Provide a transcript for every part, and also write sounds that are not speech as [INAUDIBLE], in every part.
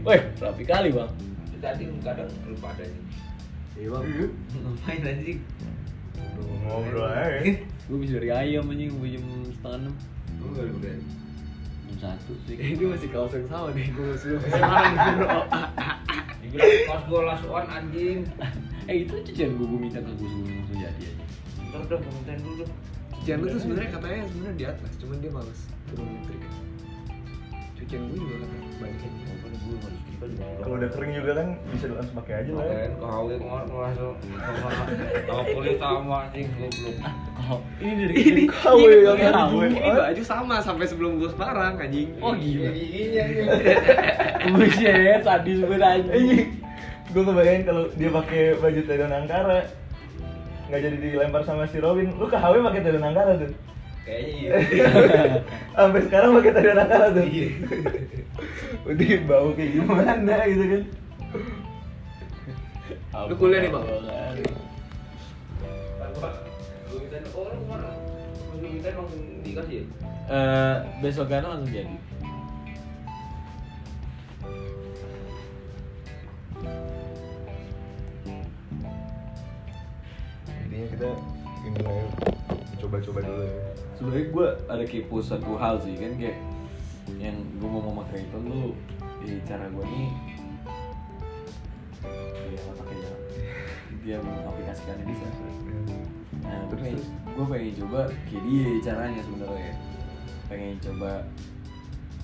Woi, rapi kali bang. Tadi lu kadang lupa ada ini. Iya bang. Ngapain anjing? Ngobrol aja. Gue bisa dari ayam anjing, gue jam setengah enam, Lu nggak liburan? jam satu sih. [LAUGHS] Ini masih kaos yang sama nih, gue masih [LAUGHS] masih kemarin bro. Dibilang pas gua last on anjing. eh itu cucian gue, gue minta ke gue sebelum langsung [LAUGHS] jadi aja. Ntar udah komentar dulu dong. Cucian lu tuh sebenarnya katanya sebenarnya di atas, cuman dia males turun listrik. Cucian gue juga katanya banyak yang Kalau udah kering juga kan bisa langsung pakai aja lah. ya. Kemarin kau hawe kemarin mau langsung Tahu kulit sama anjing goblok. Oh, ini dari Ini KW ini yang dari KW. dulu. ini baju sama sampai sebelum gue sekarang anjing. Oh gila. Giginya nih. Buset, sadis banget anjing. Gue kebayang kalau dia pakai baju Tedon Angkara nggak jadi dilempar sama si Robin, lu ke HW pakai Tedon Angkara tuh. Kayaknya iya. Sampai sekarang pakai Tedon Angkara tuh. Udah bau kayak gimana gitu kan. Lu kuliah nih, Bang? Lu minta oh lu kemarin lu minta langsung dikasih ya? Eh, besok kan langsung jadi. Jadinya kita ini lah ya, coba-coba dulu ya. sebenarnya gue ada kepo satu hal sih kan kayak yang gue mau ngomong ke itu lu di cara gue nih dia apa kayak dia mengaplikasikan ini sih nah Terus, terus terus. gue pengen coba kayak dia caranya sebenarnya pengen coba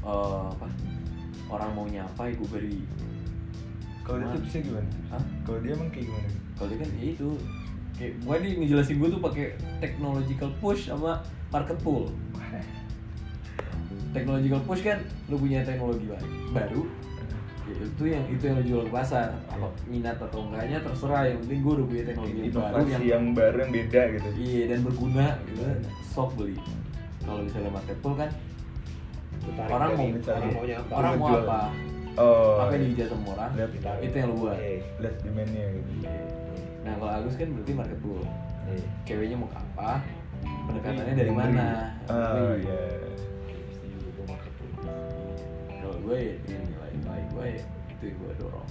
eh, apa orang mau nyapa ya gue beri Kalau dia tipsnya gimana? Hah? Kalau dia emang kayak gimana? kalau dia kan ya itu kayak gue nih ngejelasin gue tuh pakai technological push sama market pull technological push kan lu punya teknologi ba- baru ya itu yang itu yang lu jual ke pasar apa minat atau enggaknya terserah yang penting gue udah punya teknologi yang Oh, baru Inovasi yang yang baru yang beda gitu. iya dan berguna gitu sok beli kalau misalnya market pull kan orang mau Dicari. mau nyapa. orang mau Jual. apa Oh. apa yang dikejar sama orang Lihat itu yang lu Iya. buat Eh, lihat demand-nya gitu. nah kalau Agus kan berarti market pull ceweknya mau ke apa pendekatannya dari mana Iya. Oh Tapi, iya. kalau gue ya dengan nilai-nilai gue ya itu yang gue dorong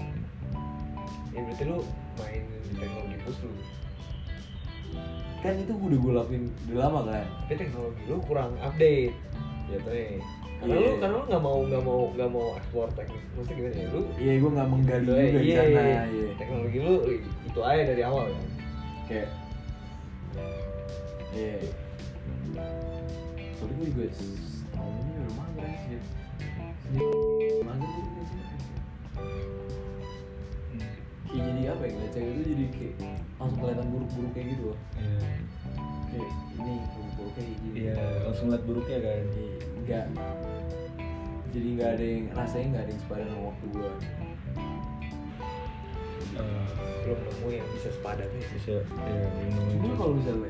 Ya berarti lu main di teknologi push lu. kan itu udah gue lakuin udah lama kan Tapi teknologi lu kurang update. Jatuhnya. Karena Iya. lu karena lu nggak mau nggak mau nggak mau explore teknik. Maksudnya gimana ya lu? iya gue nggak menggali Iya, juga di iya, sana iya. iya. Teknologi lu itu aja dari awal ya. kayak iya soalnya gue juga setahun ini udah mager sih sejak mager gue juga sih. kayak jadi apa ya ngeliat cewek itu jadi kayak langsung kelihatan buruk-buruk kayak gitu loh kayak ini buruk-buruk kayak gini Iya, langsung lihat buruknya kan. nggak jadi nggak ada yang rasanya nggak ada yang sepadan sama waktu gue Eh, Belum nemu yang bisa sepadan nih. Bisa ya cuma minum. kalau misalnya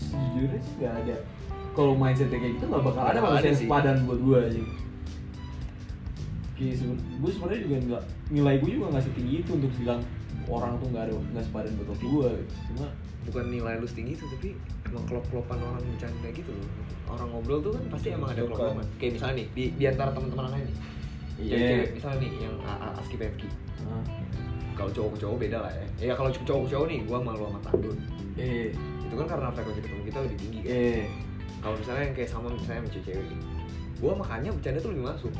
sejujurnya sih nggak ada kalau mindsetnya kayak gitu nggak bakal ada Nggak manusia ada yang sih. sepadan buat gue aja kayak seben- gue sebenarnya juga nggak nilai gue juga nggak setinggi itu untuk bilang orang tuh nggak ada nggak sepadan buat waktu gue cuma bukan nilai lu setinggi itu tapi emang kelop-kelopan orang bercanda gitu loh orang ngobrol tuh kan pasti emang ada Suka. kelop-kelopan kayak misalnya nih di, di antara teman-teman lain nih Iya. yang cewek misalnya nih yang A- A- aski pmk ah, kalau cowok ke cowok beda lah ya ya kalau cowok ke cowok nih gua malu sama tandun eh itu kan karena frekuensi ketemu kita lebih tinggi kan eh kalau misalnya yang kayak sama misalnya sama cewek gitu gua makannya bercanda tuh lebih masuk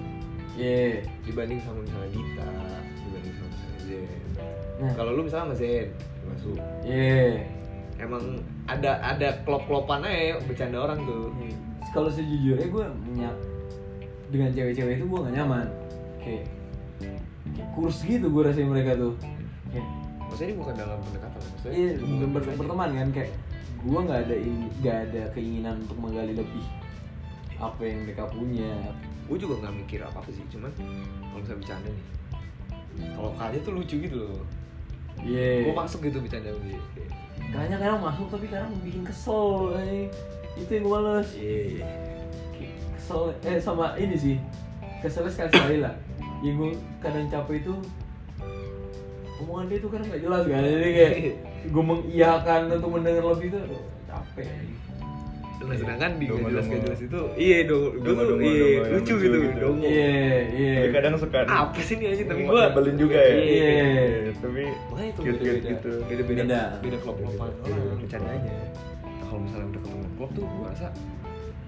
eh dibanding sama misalnya Dita dibanding sama misalnya Zen Nah. kalau lu misalnya sama Zen masuk eh emang ada ada kelop-kelopan aja bercanda orang tuh kalau sejujurnya gue menyak dengan cewek-cewek itu gue gak nyaman kayak, kayak kurs gitu gue rasain mereka tuh kayak maksudnya ini bukan dalam pendekatan maksudnya iya ber- ber- berteman kan kayak gue nggak ada ini nggak ada keinginan untuk menggali lebih apa yang mereka punya gue juga nggak mikir apa apa sih cuman kalau misalnya bercanda nih kalau kaya tuh lucu gitu loh iya gue masuk gitu bercanda gue kayaknya kadang masuk tapi kadang bikin kesel eh. itu yang gue males iya Kayak kesel eh sama ini sih keselnya sekali sekali lah yang gue kadang capek itu omongan dia tuh kadang nggak jelas [LAUGHS] kan jadi kayak gue mengiyakan untuk mendengar lebih itu aduh, capek Nah, sedangkan di Dongo-dongo. gak jelas gak jelas itu, iya dong, gue tuh Dongo-dongo, iya, dongo yang lucu lucu gitu, gitu. dongo. Iya, iya. Tapi kadang suka Apa sih ini aja tapi tapi gue belin juga ya Iya. tapi Makanya itu cute beda-beda, cute gitu Iya, beda-beda, Beda. beda kelop-kelopan orang. bercandanya Nah, Kalau misalnya udah ketemu klop tuh, gue rasa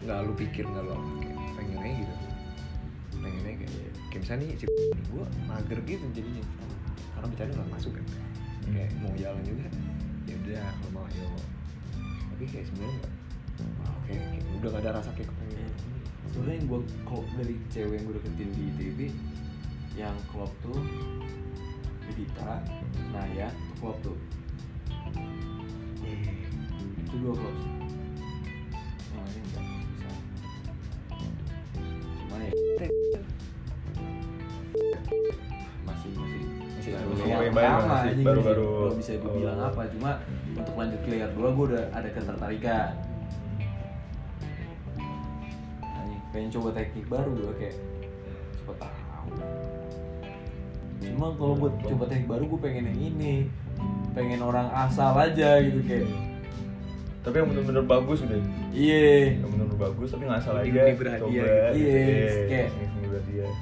nggak lu pikir nggak lu apa, kayak pengen aja gitu, pengen aja kayak, kayak misalnya nih si gue mager gitu jadinya, karena bercanda nggak masuk kan, kayak mau jalan juga, ya udah kalau mau ayo, tapi kayak sebenarnya nggak, wah, oke, oke, udah nggak ada rasa kayak kepengen. sebenarnya yang gue kalau dari cewek yang gue deketin di ITB yang klop tuh Medita Naya tuh klop tuh itu dua klop sih yang lainnya enggak bisa cuma ya masih masih Masih baru belum yang kebayang pertama masih, anjing, baru-baru. belum bisa dibilang Oh. apa cuma untuk lanjut ke layer dua gue udah ada ketertarikan anjing pengen coba teknik baru gue kayak siapa tahu cuma kalau buat coba teknik baru gue pengen yang ini pengen orang asal aja gitu kayak tapi yang bener-bener bagus udah iya yang bener-bener bagus tapi nggak salah Ini- aja ini berhadiah coba gitu. Iya, kayak kayak- berhadiah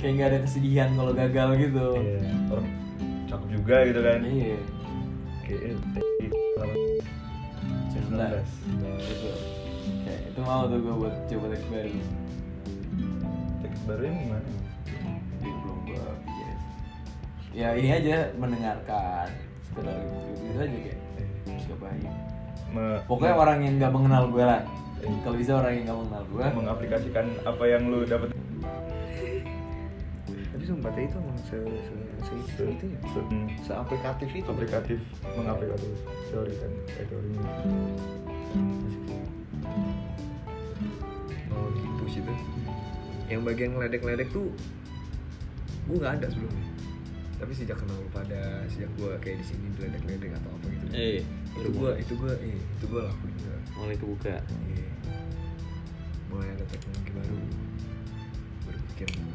kayak nggak ada kesedihan kalau gagal gitu Iya, orang cakep juga gitu kan iya kayak eh, cerdas Nah, gitu kayak itu mau tuh gue buat coba teknik baru teknik baru ini gimana jadi belum gue pikirin sih. ya ini aja mendengarkan sekedar gitu aja kayak Eh, cobain me- pokoknya orang yang nggak mengenal gue lah Eh. kalau bisa orang yang nggak mengenal gue mengaplikasikan apa yang lu dapat Tapi sumpah tadi itu emang se se se, se itu ya, seaplikatif itu. Hmm, aplikatif mengaplikatif teori kan eh, teorinya mau push itu gitu yang bagian ngeledek-ledek tuh gue nggak ada sebelumnya tapi sejak kenal lu pada sejak gue kayak di sini diledek-ledek atau apa gitu Eh, itu gue itu gue eh, itu gue lakuin juga mulai kebuka. Iya. mulai ada teknologi baru berpikir